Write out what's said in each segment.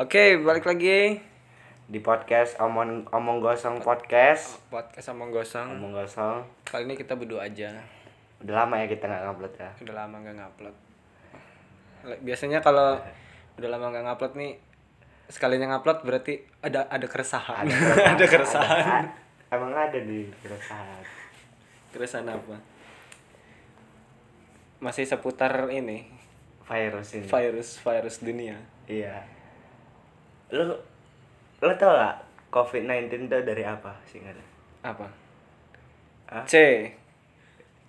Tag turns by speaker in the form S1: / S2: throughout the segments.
S1: Oke, balik lagi
S2: di podcast omong omong gosong podcast
S1: podcast Omong Gosong.
S2: omong gosong
S1: Kali ini kita berdua aja.
S2: udah lama ya kita nggak ngupload ya
S1: Udah lama nggak ngupload. Le- Biasanya kalau udah lama nggak ngupload nih sekalinya ngupload berarti ada ada keresahan. Ada keresahan.
S2: Ada- emang ada di keresahan
S1: Keresahan apa? Masih seputar ini
S2: virus
S1: Iya.
S2: ini
S1: virus virus dunia.
S2: iya lu lu tau gak covid 19 itu dari apa sih nggak
S1: Apa?
S2: Hah?
S1: C.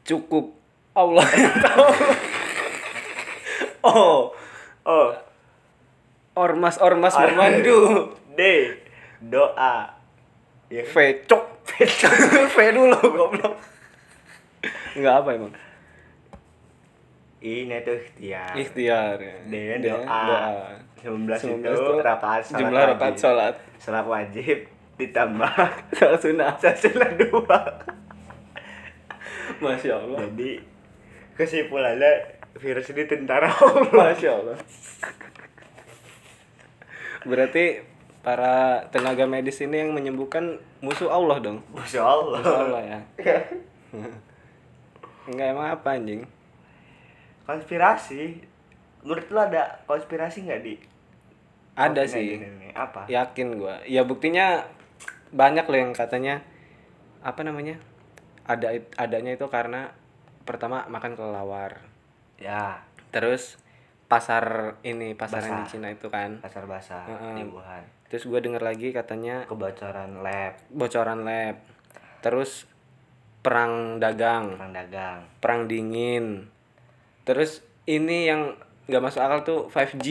S1: Cukup Allah yang tahu. Oh,
S2: oh
S1: ormas-ormas bermandu.
S2: d doa ya
S1: V cok V dulu goblok nggak apa emang
S2: ini tuh ikhtiar
S1: ikhtiar ya.
S2: d doa 19 itu rakaat sholat
S1: jumlah rakaat
S2: wajib.
S1: sholat
S2: sholat wajib ditambah
S1: sholat sunnah
S2: sasulah dua
S1: masya allah
S2: Jadi kesimpulannya virus ini tentara Allah.
S1: masya allah berarti para tenaga medis ini yang menyembuhkan musuh Allah dong
S2: Masya Allah.
S1: musuh Allah ya nggak emang apa anjing
S2: konspirasi. Menurut lo ada konspirasi nggak di?
S1: ada
S2: COVID-19
S1: sih
S2: ini? Apa?
S1: yakin gua ya buktinya banyak loh yang katanya apa namanya ada adanya itu karena pertama makan kelelawar
S2: Ya.
S1: terus pasar ini pasar yang di
S2: Basah.
S1: Cina itu kan
S2: Kasar basah
S1: Heeh.
S2: di Wuhan.
S1: terus gua denger lagi katanya
S2: Kebocoran lab,
S1: bocoran lab terus perang dagang
S2: perang dagang.
S1: perang dingin terus ini yang nggak masuk akal tuh 5G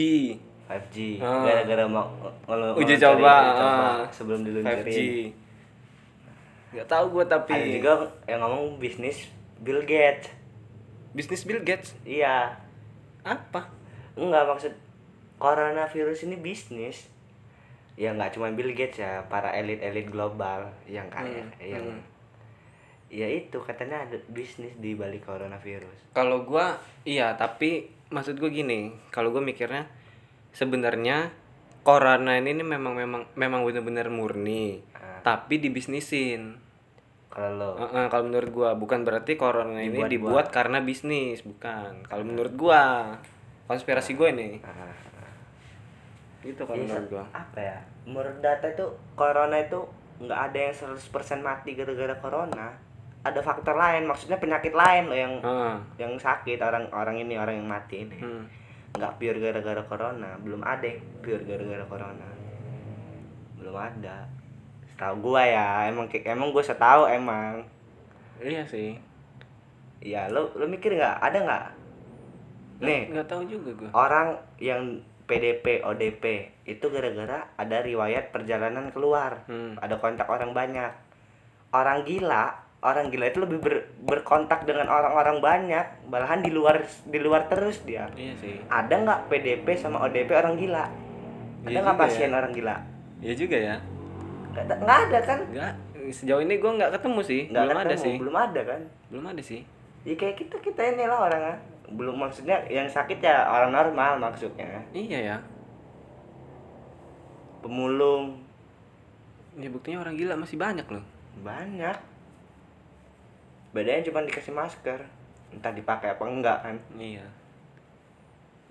S2: 5G
S1: Ah.
S2: gara-gara mau ngelu-
S1: Uji
S2: ngeluncurin
S1: coba,
S2: uji coba
S1: ah.
S2: sebelum
S1: 5G
S2: diluncurin
S1: nggak tahu gua tapi
S2: ada juga yang ngomong bisnis Bill Gates
S1: bisnis Bill Gates
S2: iya
S1: apa
S2: Enggak maksud coronavirus ini bisnis. Ya nggak cuma Bill Gates ya, para elit-elit global yang kaya,
S1: Hmm,
S2: yang
S1: hmm.
S2: ya itu katanya ada bisnis di balik coronavirus.
S1: kalau gua iya tapi maksud gua gini kalau gua mikirnya sebenarnya corona ini, ini memang memang memang benar-benar murni
S2: Ah.
S1: tapi dibisnisin
S2: Kalau lo,
S1: Heeh, kalau menurut gua bukan berarti corona ini
S2: Dibuat-buat.
S1: dibuat karena bisnis bukan kalau menurut gua konspirasi gua ini
S2: Ah.
S1: gitu kalau
S2: Ini
S1: menurut
S2: se-
S1: gua
S2: apa ya? Menurut data itu corona itu nggak ada yang 100% mati gara-gara corona. Ada faktor lain, maksudnya penyakit lain lo yang
S1: Heeh.
S2: yang sakit orang orang ini orang yang mati ini.
S1: Hmm.
S2: nggak pure gara-gara corona belum ada yang pure gara-gara corona belum ada setahu gua ya emang kayak- emang gua setahu emang
S1: iya sih
S2: ya lu lu mikir nggak ada nggak nih
S1: nggak tahu juga gua
S2: orang yang PDP ODP itu gara-gara ada riwayat perjalanan keluar
S1: Hmm.
S2: ada kontak orang banyak orang gila orang gila itu lebih ber- berkontak dengan orang-orang banyak malahan di luar di luar terus dia
S1: iya sih
S2: ada nggak PDP sama ODP orang gila? Ada
S1: Iya
S2: nggak
S1: juga
S2: pasien orang gila?
S1: iya juga ya
S2: Nggak ada- Nggak ada kan?
S1: nggak sejauh ini gua nggak ketemu sih
S2: Nggak
S1: belum ada
S2: ketemu,
S1: sih
S2: Belum ada kan?
S1: belum ada sih
S2: Ya kayak kita kita ini lah orang ah. Belum maksudnya yang sakit ya orang normal maksudnya.
S1: iya ya
S2: Pemulung
S1: Ya buktinya orang gila masih banyak loh.
S2: banyak. Bedanya cuma dikasih masker. Entah dipakai apa enggak kan?
S1: Iya.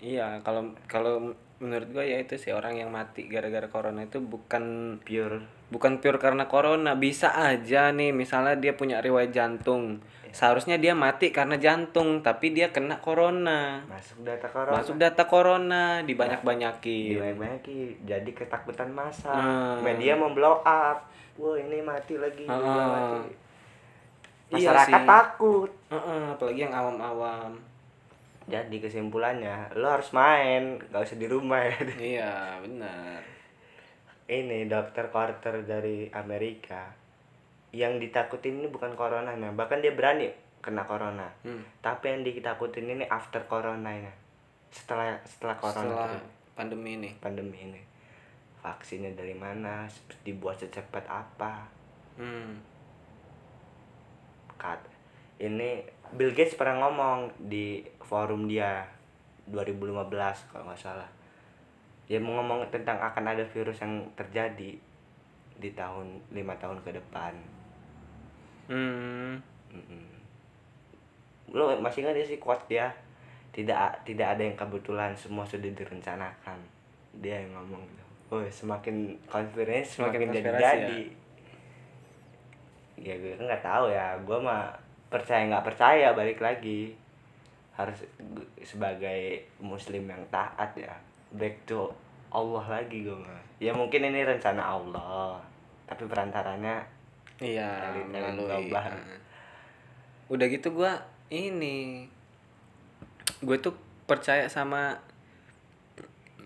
S1: Iya, kalau kalau menurut gua ya itu sih orang yang mati gara-gara corona itu bukan
S2: Pure.
S1: bukan pure karena corona, bisa aja nih misalnya dia punya riwayat jantung. Seharusnya dia mati karena jantung, tapi dia kena corona.
S2: Masuk data corona.
S1: Masuk data corona dibanyak-banyakin.
S2: Iya. Dibanyak-banyakin. Jadi ketakutan masa.
S1: Hmm.
S2: Media memblow up. Wah ini mati lagi. juga
S1: Hmm.
S2: mati.
S1: Iya
S2: Masyarakat
S1: sih.
S2: takut.
S1: Heeh, apalagi yang awam-awam.
S2: Jadi kesimpulannya, lo harus main, gak usah di rumah ya.
S1: iya, benar.
S2: Ini dokter Carter dari Amerika. Yang ditakutin ini bukan coronanya, bahkan dia berani kena corona.
S1: Hmm.
S2: Tapi yang ditakutin ini after coronanya. Setelah setelah corona
S1: Setelah
S2: tuh,
S1: pandemi ini.
S2: pandemi ini. Vaksinnya dari mana? Dibuat secepat apa?
S1: Hmm.
S2: Kat. Ini Bill Gates pernah ngomong di forum dia 2015 kalau nggak salah. ya mau ngomong tentang akan ada virus yang terjadi di tahun lima tahun ke depan
S1: Hmm.
S2: Mm-mm. lo masih nggak sih quote dia tidak tidak ada yang kebetulan semua sudah direncanakan dia yang ngomong gitu Woy, semakin konspirasi
S1: Semakin
S2: semakin, jadi
S1: konspirasi
S2: jadi ya gue kan nggak tahu ya gue mah percaya nggak percaya balik lagi harus gue- sebagai muslim yang taat ya back to Allah lagi gue mah ya mungkin ini rencana Allah tapi perantaranya
S1: Iya,
S2: Elin- Elin
S1: melalui.
S2: Gabah.
S1: Nah. Udah gitu gua ini gue tuh percaya sama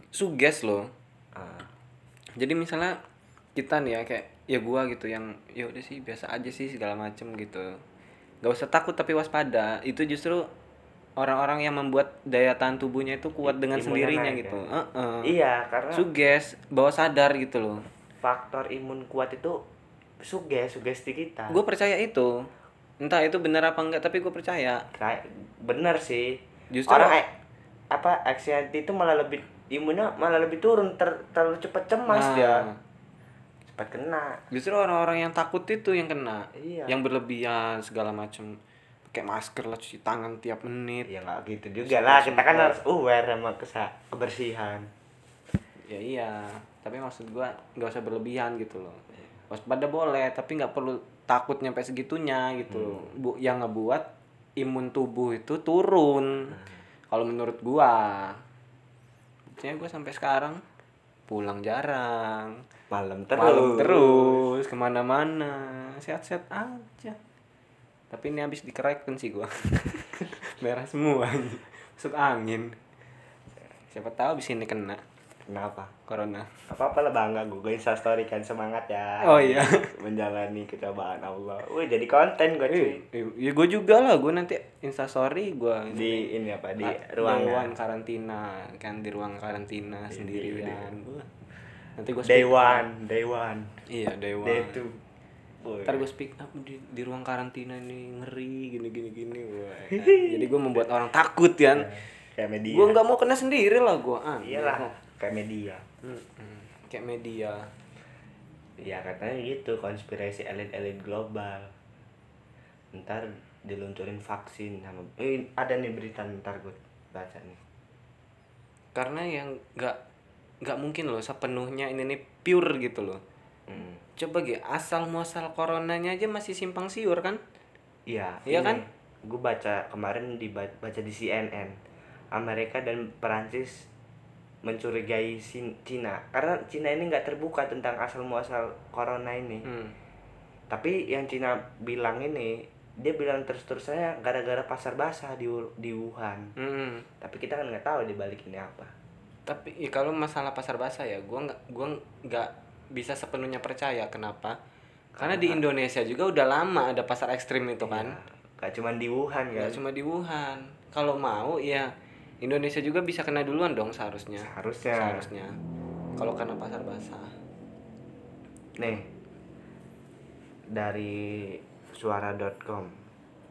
S1: suges loh.
S2: ah,
S1: Jadi misalnya kita nih ya kayak ya gua gitu yang ya udah sih biasa aja sih segala macem gitu. Gak usah takut tapi waspada. Itu justru orang-orang yang membuat daya tahan tubuhnya itu kuat dengan
S2: Imunnya
S1: sendirinya
S2: naik ya?
S1: gitu. Heeh.
S2: iya karena
S1: Suges, bawah sadar gitu loh.
S2: faktor imun kuat itu suges sugesti kita
S1: Gue percaya itu. Entah itu benar apa enggak, tapi gue percaya.
S2: Kayak- bener sih
S1: Justru-
S2: orang e- apa anxiety itu malah lebih imunnya malah lebih turun ter- terlalu cepet cemas
S1: Nah.
S2: dia cepat kena
S1: Justru orang-orang yang takut itu yang kena.
S2: Iya.
S1: Yang berlebihan segala macem pakai masker lah cuci tangan tiap menit.
S2: ya nggak gitu juga lah kita kan harus aware sama kesa- kebersihan
S1: Ya iya, tapi maksud gua nggak usah berlebihan gitu loh. Waspada boleh, tapi nggak perlu takut nyampe segitunya gitu. loh. Bu yang ngebuat imun tubuh itu turun. Kalau menurut gua. Buktinya gua sampai sekarang pulang jarang.
S2: malam terus
S1: malam terus kemana-mana sehat-sehat aja tapi ini habis dikerekin sih gua merah semua masuk angin siapa tahu abis ini kena
S2: kenapa
S1: corona
S2: apa apa lah bangga gue gue instastory kan semangat ya
S1: Oh, iya.
S2: menjalani kecobaan Allah wih jadi konten gue cuy
S1: Eh, ya gue juga lah gue nanti instastory gue
S2: di ini apa di
S1: ruang
S2: ruangan
S1: karantina kan di ruang karantina sendirian Wah. nanti gue
S2: Iya, day one day one
S1: iya dewa
S2: day two Woi.
S1: ntar gue speak up di, di ruang karantina ini ngeri gini gini gini wah kan.
S2: Iya.
S1: jadi gue membuat orang takut kan
S2: kayak media
S1: gue nggak mau kena sendiri lah gue ah
S2: Iya. iyalah kayak media
S1: Mm-mm. hmm. kayak media
S2: ya katanya gitu konspirasi elit-elit global ntar diluncurin vaksin sama eh, ada nih berita ntar gue baca nih
S1: karena yang nggak nggak mungkin loh sepenuhnya ini nih pure gitu loh
S2: Mm.
S1: coba gitu asal muasal coronanya aja masih simpang siur kan
S2: Iya,
S1: Iya kan?
S2: Gue baca kemarin dibaca baca di CNN, Amerika dan Perancis mencurigai Sin- Cina karena Cina ini nggak terbuka tentang asal muasal corona ini.
S1: hmm.
S2: Tapi yang Cina bilang ini, dia bilang terus terusannya gara-gara pasar basah di Wu- di Wuhan.
S1: Mm-mm.
S2: Tapi kita kan nggak tahu di balik ini apa.
S1: hmm. tapi ya, kalau masalah pasar basah ya gue nggak gua nggak bisa sepenuhnya percaya kenapa karena di Indonesia juga udah lama ada pasar ekstrim itu kan
S2: Nah, gak cuman di Wuhan kan?
S1: nggak cuma di Wuhan kalau mau ya Indonesia juga bisa kena duluan dong seharusnya
S2: Seharusnya.
S1: Iya. seharusnya kalau karena pasar basah
S2: Nih, dari suara.com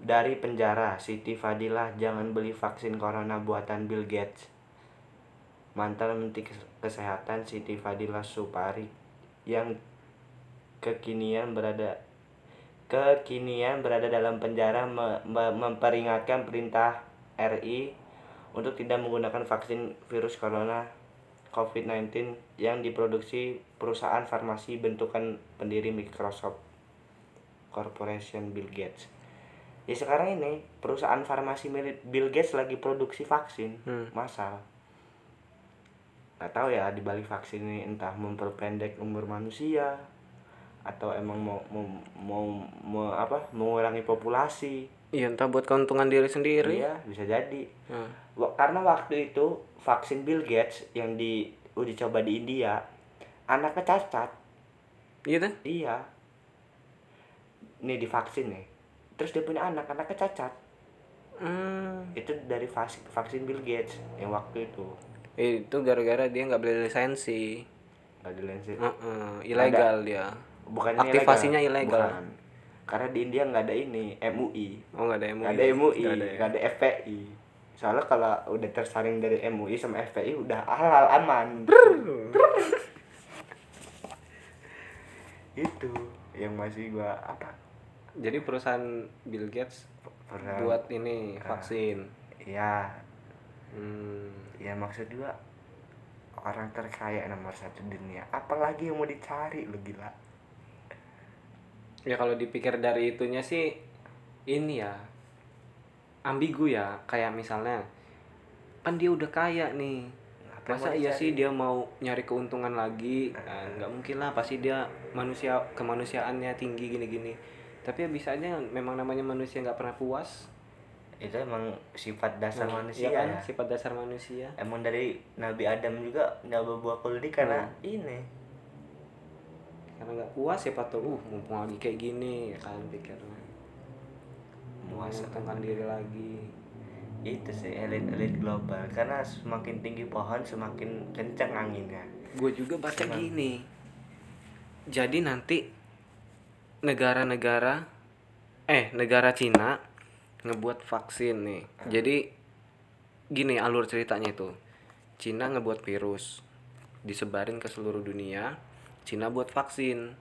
S2: Dari penjara, Siti Fadilah jangan beli vaksin corona buatan Bill Gates Mantan Menteri Kes- Kesehatan Siti Fadilah Supari Yang kekinian berada kekinian berada dalam penjara me- me- memperingatkan perintah RI untuk tidak menggunakan vaksin virus corona COVID-19 yang diproduksi perusahaan farmasi bentukan pendiri Microsoft Corporation Bill Gates. Ya sekarang ini perusahaan farmasi milik Bill Gates lagi produksi vaksin
S1: Hmm.
S2: massal. Gak tahu ya di balik vaksin ini entah memperpendek umur manusia atau emang mau mau, mau, mau apa mengurangi populasi.
S1: ya entah buat keuntungan diri sendiri
S2: Iya, bisa jadi.
S1: Nah,
S2: Wa- karena waktu itu vaksin Bill Gates yang di uji coba di India anaknya cacat
S1: gitu
S2: iya nih divaksin nih terus dia punya anak anaknya cacat
S1: Hmm.
S2: itu dari vas- vaksin Bill Gates yang waktu itu
S1: itu gara-gara dia nggak beli lisensi
S2: nggak dilensin
S1: Heeh, ilegal dia
S2: bukan
S1: Aktivasinya ilegal.
S2: karena di India nggak ada ini MUI
S1: oh nggak ada MUI
S2: nggak ada MUI
S1: Nggak ada ya.
S2: nggak ada FPI soalnya kalau udah tersaring dari MUI sama FPI udah halal aman itu yang masih gua apa
S1: Jadi perusahaan Bill Gates
S2: pernah
S1: buat
S2: Nah.
S1: ini vaksin.
S2: ya
S1: Hmm.
S2: ya maksud gua orang terkaya nomor satu dunia apalagi yang mau dicari lu gila
S1: Ya kalau dipikir dari itunya sih ini ya ambigu ya kayak misalnya kan dia udah kaya nih
S2: Apa yang
S1: masa
S2: mau
S1: iya
S2: dicari?
S1: sih dia mau nyari keuntungan lagi Nah, nggak mungkin lah pasti dia manusia kemanusiaannya tinggi gini-gini tapi ya bisa aja memang namanya manusia nggak pernah puas
S2: itu emang sifat dasar
S1: Nah,
S2: manusia ya.
S1: iya kan sifat dasar manusia
S2: emang dari Nabi Adam juga nggak berbuah koloni karena ini
S1: karena nggak puas siapa tahu uh mumpung lagi kayak gini ya kan pikirnya mau
S2: Puas.
S1: menguntungkan diri lagi
S2: itu sih elit-elit global karena semakin tinggi pohon semakin kencang anginnya
S1: gue juga baca gini jadi nanti negara-negara eh negara Cina ngebuat vaksin nih jadi gini alur ceritanya itu Cina ngebuat virus disebarin ke seluruh dunia Cina buat vaksin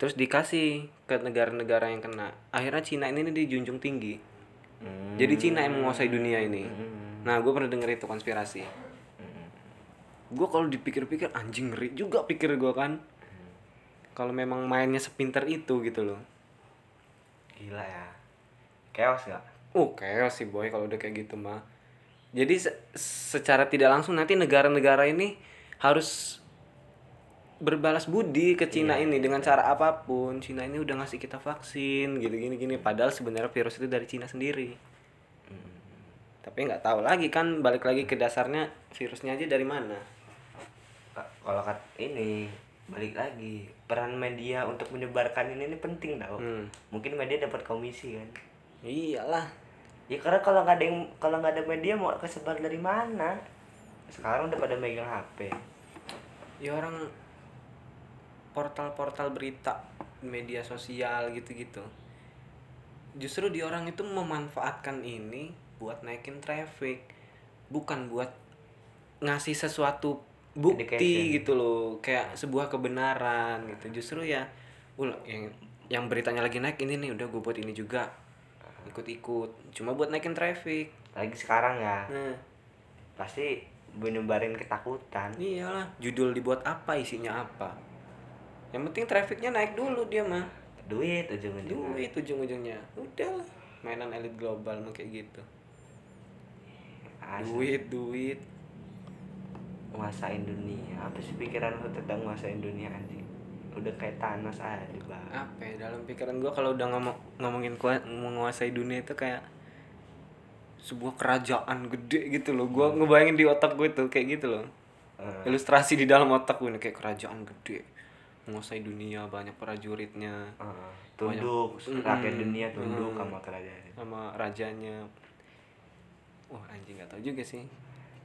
S1: terus dikasih ke negara-negara yang kena akhirnya Cina ini nih dijunjung tinggi
S2: Hmm,
S1: jadi Cina yang menguasai dunia ini nah gue pernah denger itu konspirasi gue kalau dipikir-pikir anjing ngeri juga pikir gue kan kalau memang mainnya sepinter itu gitu loh
S2: gila ya chaos gak
S1: oh chaos sih boy kalau udah kayak gitu mah jadi se- secara tidak langsung nanti negara-negara ini harus berbalas budi ke Cina ini dengan cara apapun Cina ini udah ngasih kita vaksin gitu gini gini padahal sebenarnya virus itu dari Cina sendiri
S2: Hmm.
S1: tapi nggak tahu lagi kan balik lagi ke dasarnya virusnya aja dari mana
S2: Ka- kalau kat ini balik lagi peran media untuk menyebarkan ini ini penting tau
S1: Hmm.
S2: mungkin media dapat komisi kan
S1: iyalah
S2: ya karena kalau nggak ada yang kalau nggak ada media mau kesebar dari mana sekarang udah pada megang HP
S1: ya orang portal-portal berita media sosial gitu-gitu justru di orang itu memanfaatkan ini buat naikin traffic bukan buat ngasih sesuatu bukti
S2: Education.
S1: gitu loh kayak sebuah kebenaran gitu justru ya ul yang yang beritanya lagi naik ini nih udah gue buat ini juga ikut-ikut cuma buat naikin traffic
S2: lagi sekarang ya
S1: nah
S2: pasti menyebarin ketakutan
S1: iyalah judul dibuat apa isinya apa yang penting trafficnya naik dulu dia mah
S2: duit ujung-ujungnya
S1: duit ujung-ujungnya udah lah mainan elit global mah kayak gitu
S2: Asli.
S1: duit duit
S2: nguasain dunia apa sih pikiran lu tentang nguasain dunia anjing udah kayak Thanos aja bang
S1: apa ya, dalam pikiran gua kalau udah ngomong ngomongin kua- menguasai dunia itu kayak sebuah kerajaan gede gitu loh gua ngebayangin di otak gue tuh kayak gitu loh
S2: Eh.
S1: ilustrasi di dalam otak gue nih kayak kerajaan gede menguasai dunia banyak prajuritnya
S2: Heeh. tunduk rakyat dunia tunduk sama kerajaan itu.
S1: sama rajanya wah anjing nggak tahu juga sih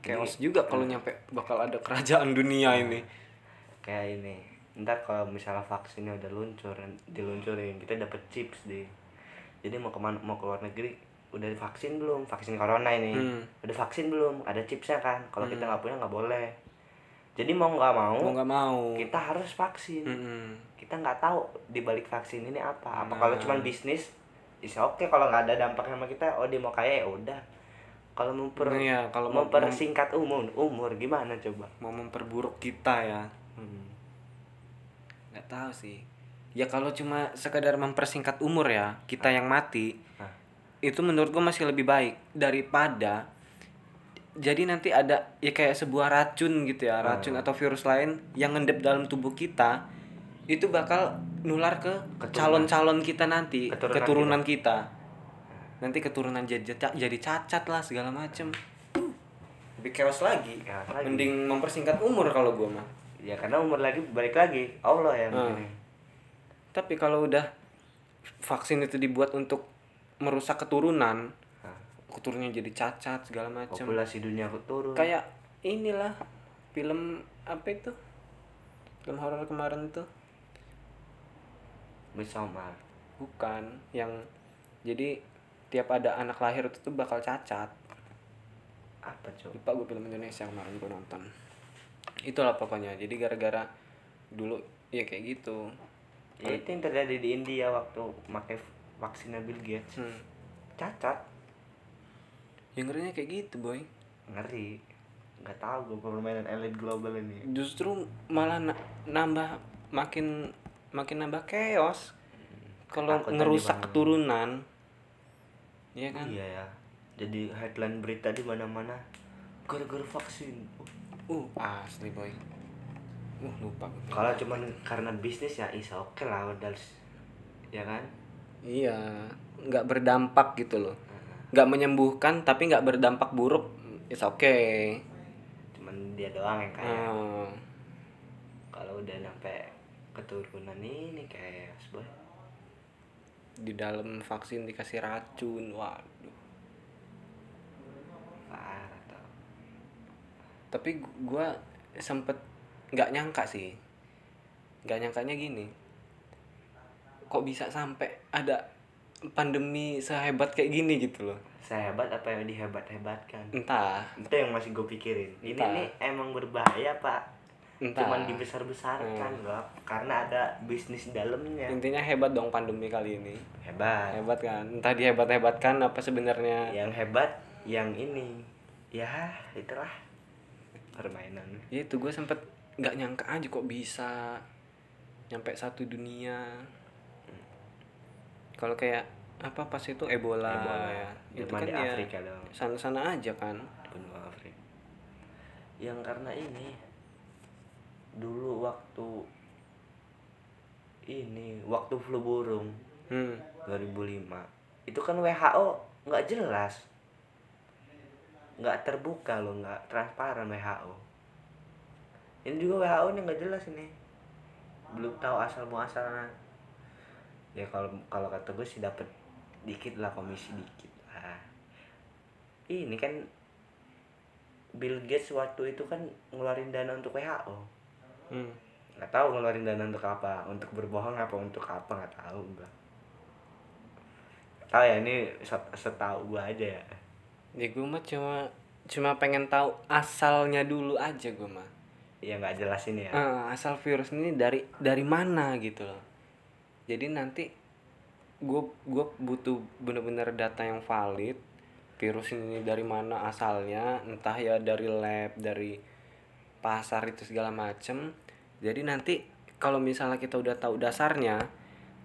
S1: chaos juga kalau nyampe bakal ada kerajaan dunia ini
S2: kayak ini ntar kalau misalnya vaksinnya udah luncur diluncurin kita dapet chips deh jadi mau kemana mau ke luar negeri udah vaksin belum vaksin corona ini
S1: Hmm.
S2: udah vaksin belum ada chipsnya kan kalau kita nggak punya nggak boleh jadi mau nggak mau
S1: mau nggak mau Hmm.
S2: kita harus vaksin
S1: Mm-mm.
S2: kita nggak tahu di balik vaksin ini apa apa
S1: Nah.
S2: kalau cuman bisnis is oke kalau nggak ada dampaknya sama kita oh dia mau kaya ya udah kalau memper
S1: Nah, iya, kalau mau-
S2: mempersingkat umur umur gimana coba
S1: mau memperburuk kita ya
S2: Hmm.
S1: nggak tahu sih ya kalau cuma sekedar mempersingkat umur ya kita yang mati
S2: Hah.
S1: itu menurut gue masih lebih baik daripada jadi nanti ada ya kayak sebuah racun gitu ya racun atau virus lain yang ngendep dalam tubuh kita itu bakal nular ke calon-calon kita nanti
S2: Keturunan
S1: keturunan, kita. nanti keturunan jadi cacat- jadi cacat lah segala macem Huh, lebih chaos lagi
S2: Chaos Ya, kan lagi.
S1: mending mempersingkat umur kalau gue mah
S2: ya karena umur lagi balik lagi Allah yang
S1: Nah,
S2: ini
S1: Tapi kalau udah vaksin itu dibuat untuk merusak keturunan,
S2: Hah. Oh,
S1: keturunannya jadi cacat segala macam.
S2: populasi dunia aku turun
S1: Kayak inilah film apa itu? Film horor kemarin tuh.
S2: Midsommar.
S1: Bukan yang jadi tiap ada anak lahir itu tuh bakal cacat.
S2: apa coba
S1: lupa gue film Indonesia kemarin gue nonton itulah pokoknya jadi gara-gara dulu ya kayak gitu
S2: ya, itu yang terjadi di India waktu pakai vaksinnya Bill Gates
S1: hmm.
S2: cacat
S1: yang ngerinya kayak gitu boy
S2: ngeri nggak tahu gue permainan elit global ini
S1: justru malah na- nambah makin makin nambah chaos kalau
S2: Ketakutan
S1: ngerusak
S2: dibangun.
S1: keturunan iya kan
S2: iya ya jadi headline berita di mana mana gara-gara vaksin
S1: uh asli boy uh lupa gua.
S2: kalau cuman karena bisnis ya is oke lah udah ya kan
S1: iya nggak berdampak gitu loh
S2: Hmm.
S1: nggak menyembuhkan tapi nggak berdampak buruk it's okay
S2: cuman dia doang yang kaya
S1: Ah.
S2: kalau udah sampai keturunan ini kayak boy
S1: di dalam vaksin dikasih racun waduh
S2: parah tau
S1: tapi gu- gua sempet nggak nyangka sih nggak nyangkanya gini kok bisa sampai ada pandemi sehebat kayak gini gitu loh
S2: sehebat apa yang dihebat hebatkan
S1: entah
S2: itu yang masih gue pikirin
S1: Hmm.
S2: ini
S1: Entah.
S2: nih emang berbahaya pak
S1: entah Hmm.
S2: cuman dibesar besarkan loh karena ada bisnis dalamnya
S1: intinya hebat dong pandemi kali ini
S2: hebat
S1: hebat kan entah dihebat hebatkan apa sebenarnya
S2: yang hebat yang ini ya itulah permainan
S1: ya itu gue sempet nggak nyangka aja kok bisa nyampe satu dunia kalau kayak apa pas itu Ebola, ya. itu
S2: Cuma
S1: kan
S2: di
S1: ya
S2: Afrika dong
S1: sana-sana aja kan
S2: benua Afrika yang karena ini dulu waktu ini waktu flu burung
S1: hmm
S2: 2005 itu kan WHO nggak jelas nggak terbuka loh nggak transparan WHO ini juga WHO nih nggak jelas ini belum tahu asal muasalnya ya kalau kalau kata gue sih dapat dikit lah komisi dikit lah ini kan Bill Gates waktu itu kan ngeluarin dana untuk WHO
S1: hmm
S2: nggak tahu ngeluarin dana untuk apa untuk berbohong apa untuk apa nggak tahu gua Nggak tahu ya ini set- setahu gua aja ya
S1: ya gue mah cuma cuma pengen tahu asalnya dulu aja gue mah
S2: ya nggak jelas ini ya
S1: Eh, asal virus ini dari dari mana gitu loh jadi nanti gue gue butuh bener-bener data yang valid virus ini dari mana asalnya entah ya dari lab dari pasar itu segala macem jadi nanti kalau misalnya kita udah tahu dasarnya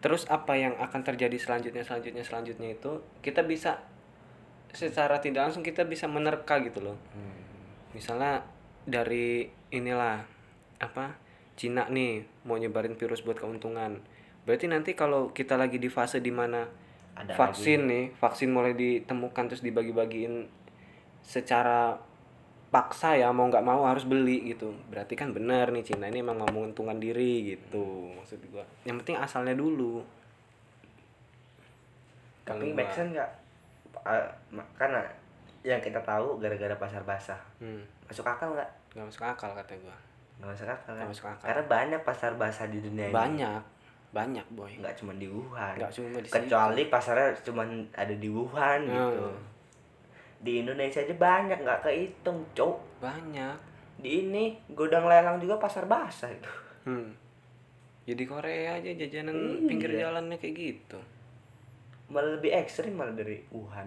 S1: terus apa yang akan terjadi selanjutnya selanjutnya selanjutnya itu kita bisa secara tidak langsung kita bisa menerka gitu loh
S2: Hmm,
S1: misalnya dari inilah apa Cina nih mau nyebarin virus buat keuntungan berarti nanti kalau kita lagi di fase dimana
S2: Ada
S1: vaksin nih vaksin mulai ditemukan terus dibagi-bagiin secara paksa ya mau nggak mau harus beli gitu berarti kan benar nih Cina ini emang mau menguntungkan diri gitu maksud gua yang penting asalnya dulu
S2: tapi
S1: Kalau
S2: make
S1: gua-
S2: sense nggak Ah, ma- karena yang kita tahu gara-gara pasar basah
S1: hmm,
S2: masuk akal nggak
S1: nggak masuk akal kata gua
S2: nggak masuk akal kan?
S1: Nggak masuk akal.
S2: karena banyak pasar basah di dunia ini
S1: banyak banyak boy
S2: nggak cuma di Wuhan
S1: nggak cuma di situ.
S2: kecuali pasarnya cuma ada di Wuhan gitu
S1: Hmm.
S2: di Indonesia aja banyak nggak kehitung cok
S1: banyak
S2: di ini gudang lelang juga pasar basah itu
S1: Hmm. Jadi Korea aja jajanan
S2: Iya.
S1: pinggir jalannya kayak gitu.
S2: malah lebih ekstrim malah dari Wuhan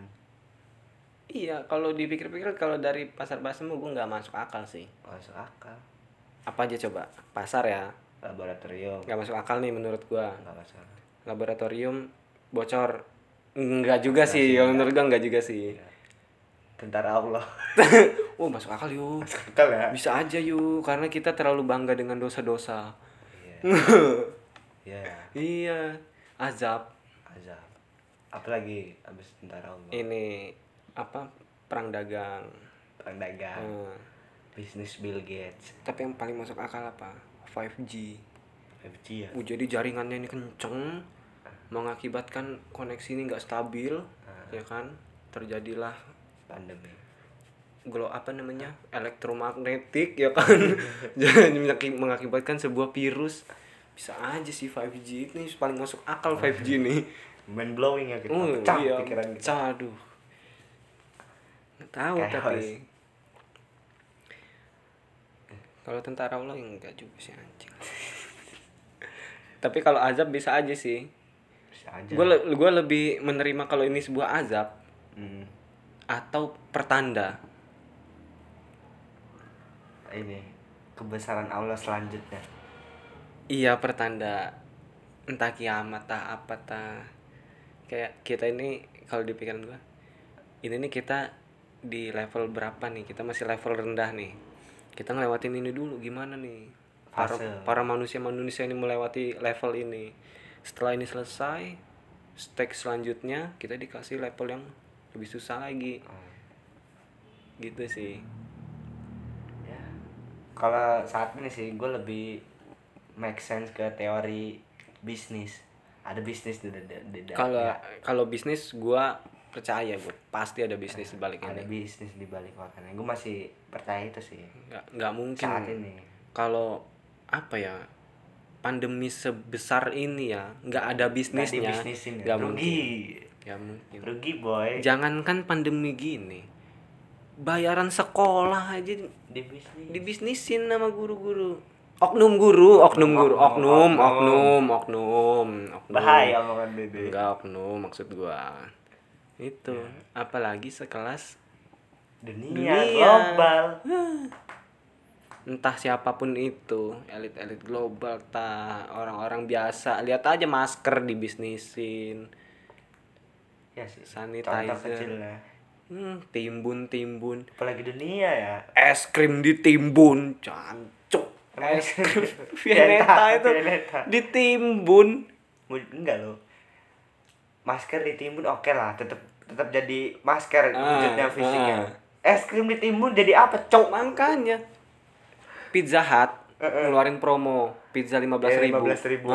S1: Iya, kalau dipikir-pikir kalau dari pasar basah mah gue nggak masuk akal sih.
S2: masuk akal
S1: Apa aja coba? Pasar ya,
S2: laboratorium
S1: nggak masuk akal nih menurut gua.
S2: nggak masuk akal
S1: Laboratorium bocor, nggak juga sih. Kalau menurut gua nggak juga sih.
S2: tentara Allah
S1: oh masuk akal yuk.
S2: akal ya
S1: Bisa aja yuk, karena kita terlalu bangga dengan dosa-dosa.
S2: iya ya
S1: iya, azab.
S2: azab apalagi abis tentara Allah
S1: Ini apa? Perang dagang.
S2: perang dagang
S1: Hmm.
S2: bisnis Bill Gates
S1: Tapi yang paling masuk akal apa? 5G.
S2: FG ya
S1: Uh, jadi jaringannya ini kenceng mengakibatkan koneksi ini nggak stabil
S2: Ah.
S1: ya kan terjadilah
S2: pandemi
S1: glow apa namanya elektromagnetik ya kan jadi mengaki- mengakibatkan sebuah virus bisa aja sih 5G ini paling masuk akal 5G nih
S2: mind blowing ya kita
S1: Oh
S2: pecah
S1: iya
S2: pikiran kita
S1: pecah aduh nggak tahu
S2: Chaos.
S1: tapi Kalau tentara Allah ya enggak juga sih anjing. Tapi kalau azab bisa aja sih.
S2: Bisa aja.
S1: Gue le- gua lebih menerima kalau ini sebuah azab
S2: Hmm.
S1: atau pertanda.
S2: Ini kebesaran Allah selanjutnya.
S1: Iya pertanda entah kiamat tah apa tah. Kayak kita ini kalau di pikiran gua ini nih kita di level berapa nih? Kita masih level rendah nih. Kita ngelewatin ini dulu gimana nih? Para
S2: Fase.
S1: para manusia-manusia ini melewati level ini. Setelah ini selesai, stage selanjutnya kita dikasih level yang lebih susah lagi. Gitu sih.
S2: Ya. Kalau saat ini sih gue lebih make sense ke teori bisnis. Ada bisnis di di, di- di-
S1: Kalau
S2: ya,
S1: kalau bisnis gua percaya gua pasti ada bisnis di balik
S2: ada
S1: ini.
S2: bisnis di balik makanan. Gue masih percaya itu sih
S1: Nggak, nggak mungkin
S2: saat ini.
S1: kalau apa ya pandemi sebesar ini ya nggak ada
S2: Nggak
S1: bisnisnya
S2: dibisnisin ya.
S1: nggak
S2: rugi.
S1: mungkin Nggak mungkin
S2: Rugi boy.
S1: jangankan pandemi gini bayaran sekolah aja di-
S2: Di bisnis.
S1: dibisnisin sama guru-guru oknum guru oknum guru oknum
S2: Oknum,
S1: oknum oknum oknum
S2: Bahaya omongan dede.
S1: enggak oknum maksud gua itu
S2: Ya.
S1: apalagi sekelas
S2: Dunia,
S1: Dunia.
S2: global.
S1: entah siapapun itu elit-elit global ta orang-orang biasa lihat aja masker dibisnisin
S2: Ya sih.
S1: Sanitizer.
S2: Contoh kecil lah.
S1: hmm, timbun timbun
S2: Apalagi dunia ya.
S1: es krim ditimbun cancuk es krim Vianetta itu
S2: Vianetta.
S1: ditimbun
S2: Mu- enggak lo masker ditimbun oke lah tetap tetap jadi
S1: Ah,
S2: masker wujudnya fisiknya
S1: ah.
S2: es krim ditimbun jadi apa
S1: Oh,
S2: cok
S1: makanya pizza hut ngeluarin promo pizza lima belas ribu, Nah, Ah.
S2: Iya, lima belas ribu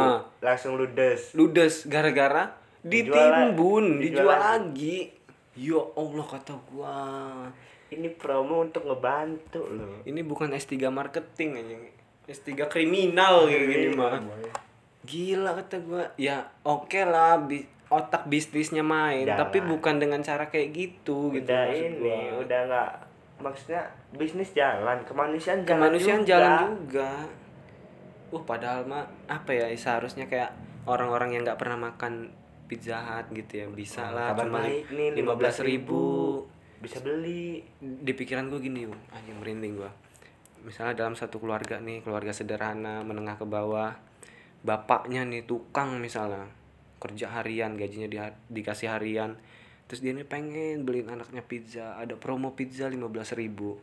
S2: langsung ludes
S1: ludes gara-gara ditimbun dijual, lagi ya Allah kata gua
S2: ini promo untuk ngebantu lo
S1: ini bukan S3 marketing anjing S3 kriminal gitu gini
S2: Iya.
S1: mah gila kata gua ya oke lah bi- otak bisnisnya main
S2: Udah
S1: tapi
S2: lah.
S1: bukan dengan cara kayak gitu gitu
S2: udah
S1: maksud
S2: ini
S1: gua.
S2: udah nggak maksudnya bisnis jalan kemanusiaan jalan
S1: kemanusiaan
S2: juga.
S1: jalan juga uh padahal mah apa ya seharusnya kayak orang-orang yang nggak pernah makan pizza hut gitu ya bisa lah
S2: Nah, Oh, kabar
S1: cuma
S2: baik nih
S1: lima belas ribu
S2: bisa beli
S1: di pikiran gue gini yuk anjing merinding gue misalnya dalam satu keluarga nih keluarga sederhana menengah ke bawah bapaknya nih tukang misalnya kerja harian gajinya di, dikasih harian terus dia nih pengen beliin anaknya pizza ada promo pizza 15.000 ribu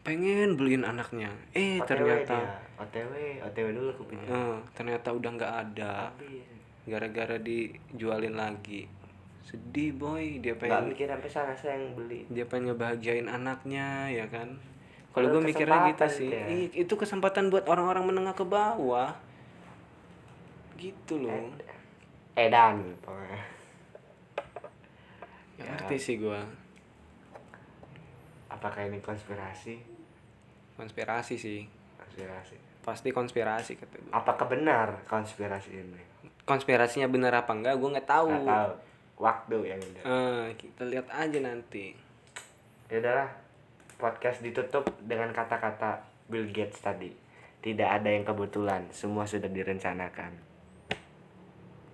S1: pengen beliin anaknya eh
S2: OTW
S1: ternyata
S2: dia. otw otw dulu kupingnya
S1: eh, ternyata udah nggak ada
S2: Habis.
S1: gara-gara dijualin lagi sedih boy dia
S2: nggak
S1: pengen
S2: mikir sampai sana saya yang beli
S1: dia pengen ngebahagiain anaknya ya kan kalau gue
S2: Padahal
S1: mikirnya gitu
S2: kesempatan
S1: sih
S2: itu ya.
S1: Ih, itu kesempatan buat orang-orang menengah ke bawah gitu loh
S2: Eh, edan pokoknya.
S1: ya ngerti sih gue
S2: apakah ini konspirasi
S1: konspirasi sih
S2: konspirasi
S1: pasti konspirasi kata gua.
S2: apakah benar konspirasi ini
S1: konspirasinya bener apa enggak gue nggak tahu
S2: nggak tahu waktu yang udah
S1: Eh, kita lihat aja nanti
S2: ya udahlah podcast ditutup dengan kata-kata Bill Gates tadi tidak ada yang kebetulan semua sudah direncanakan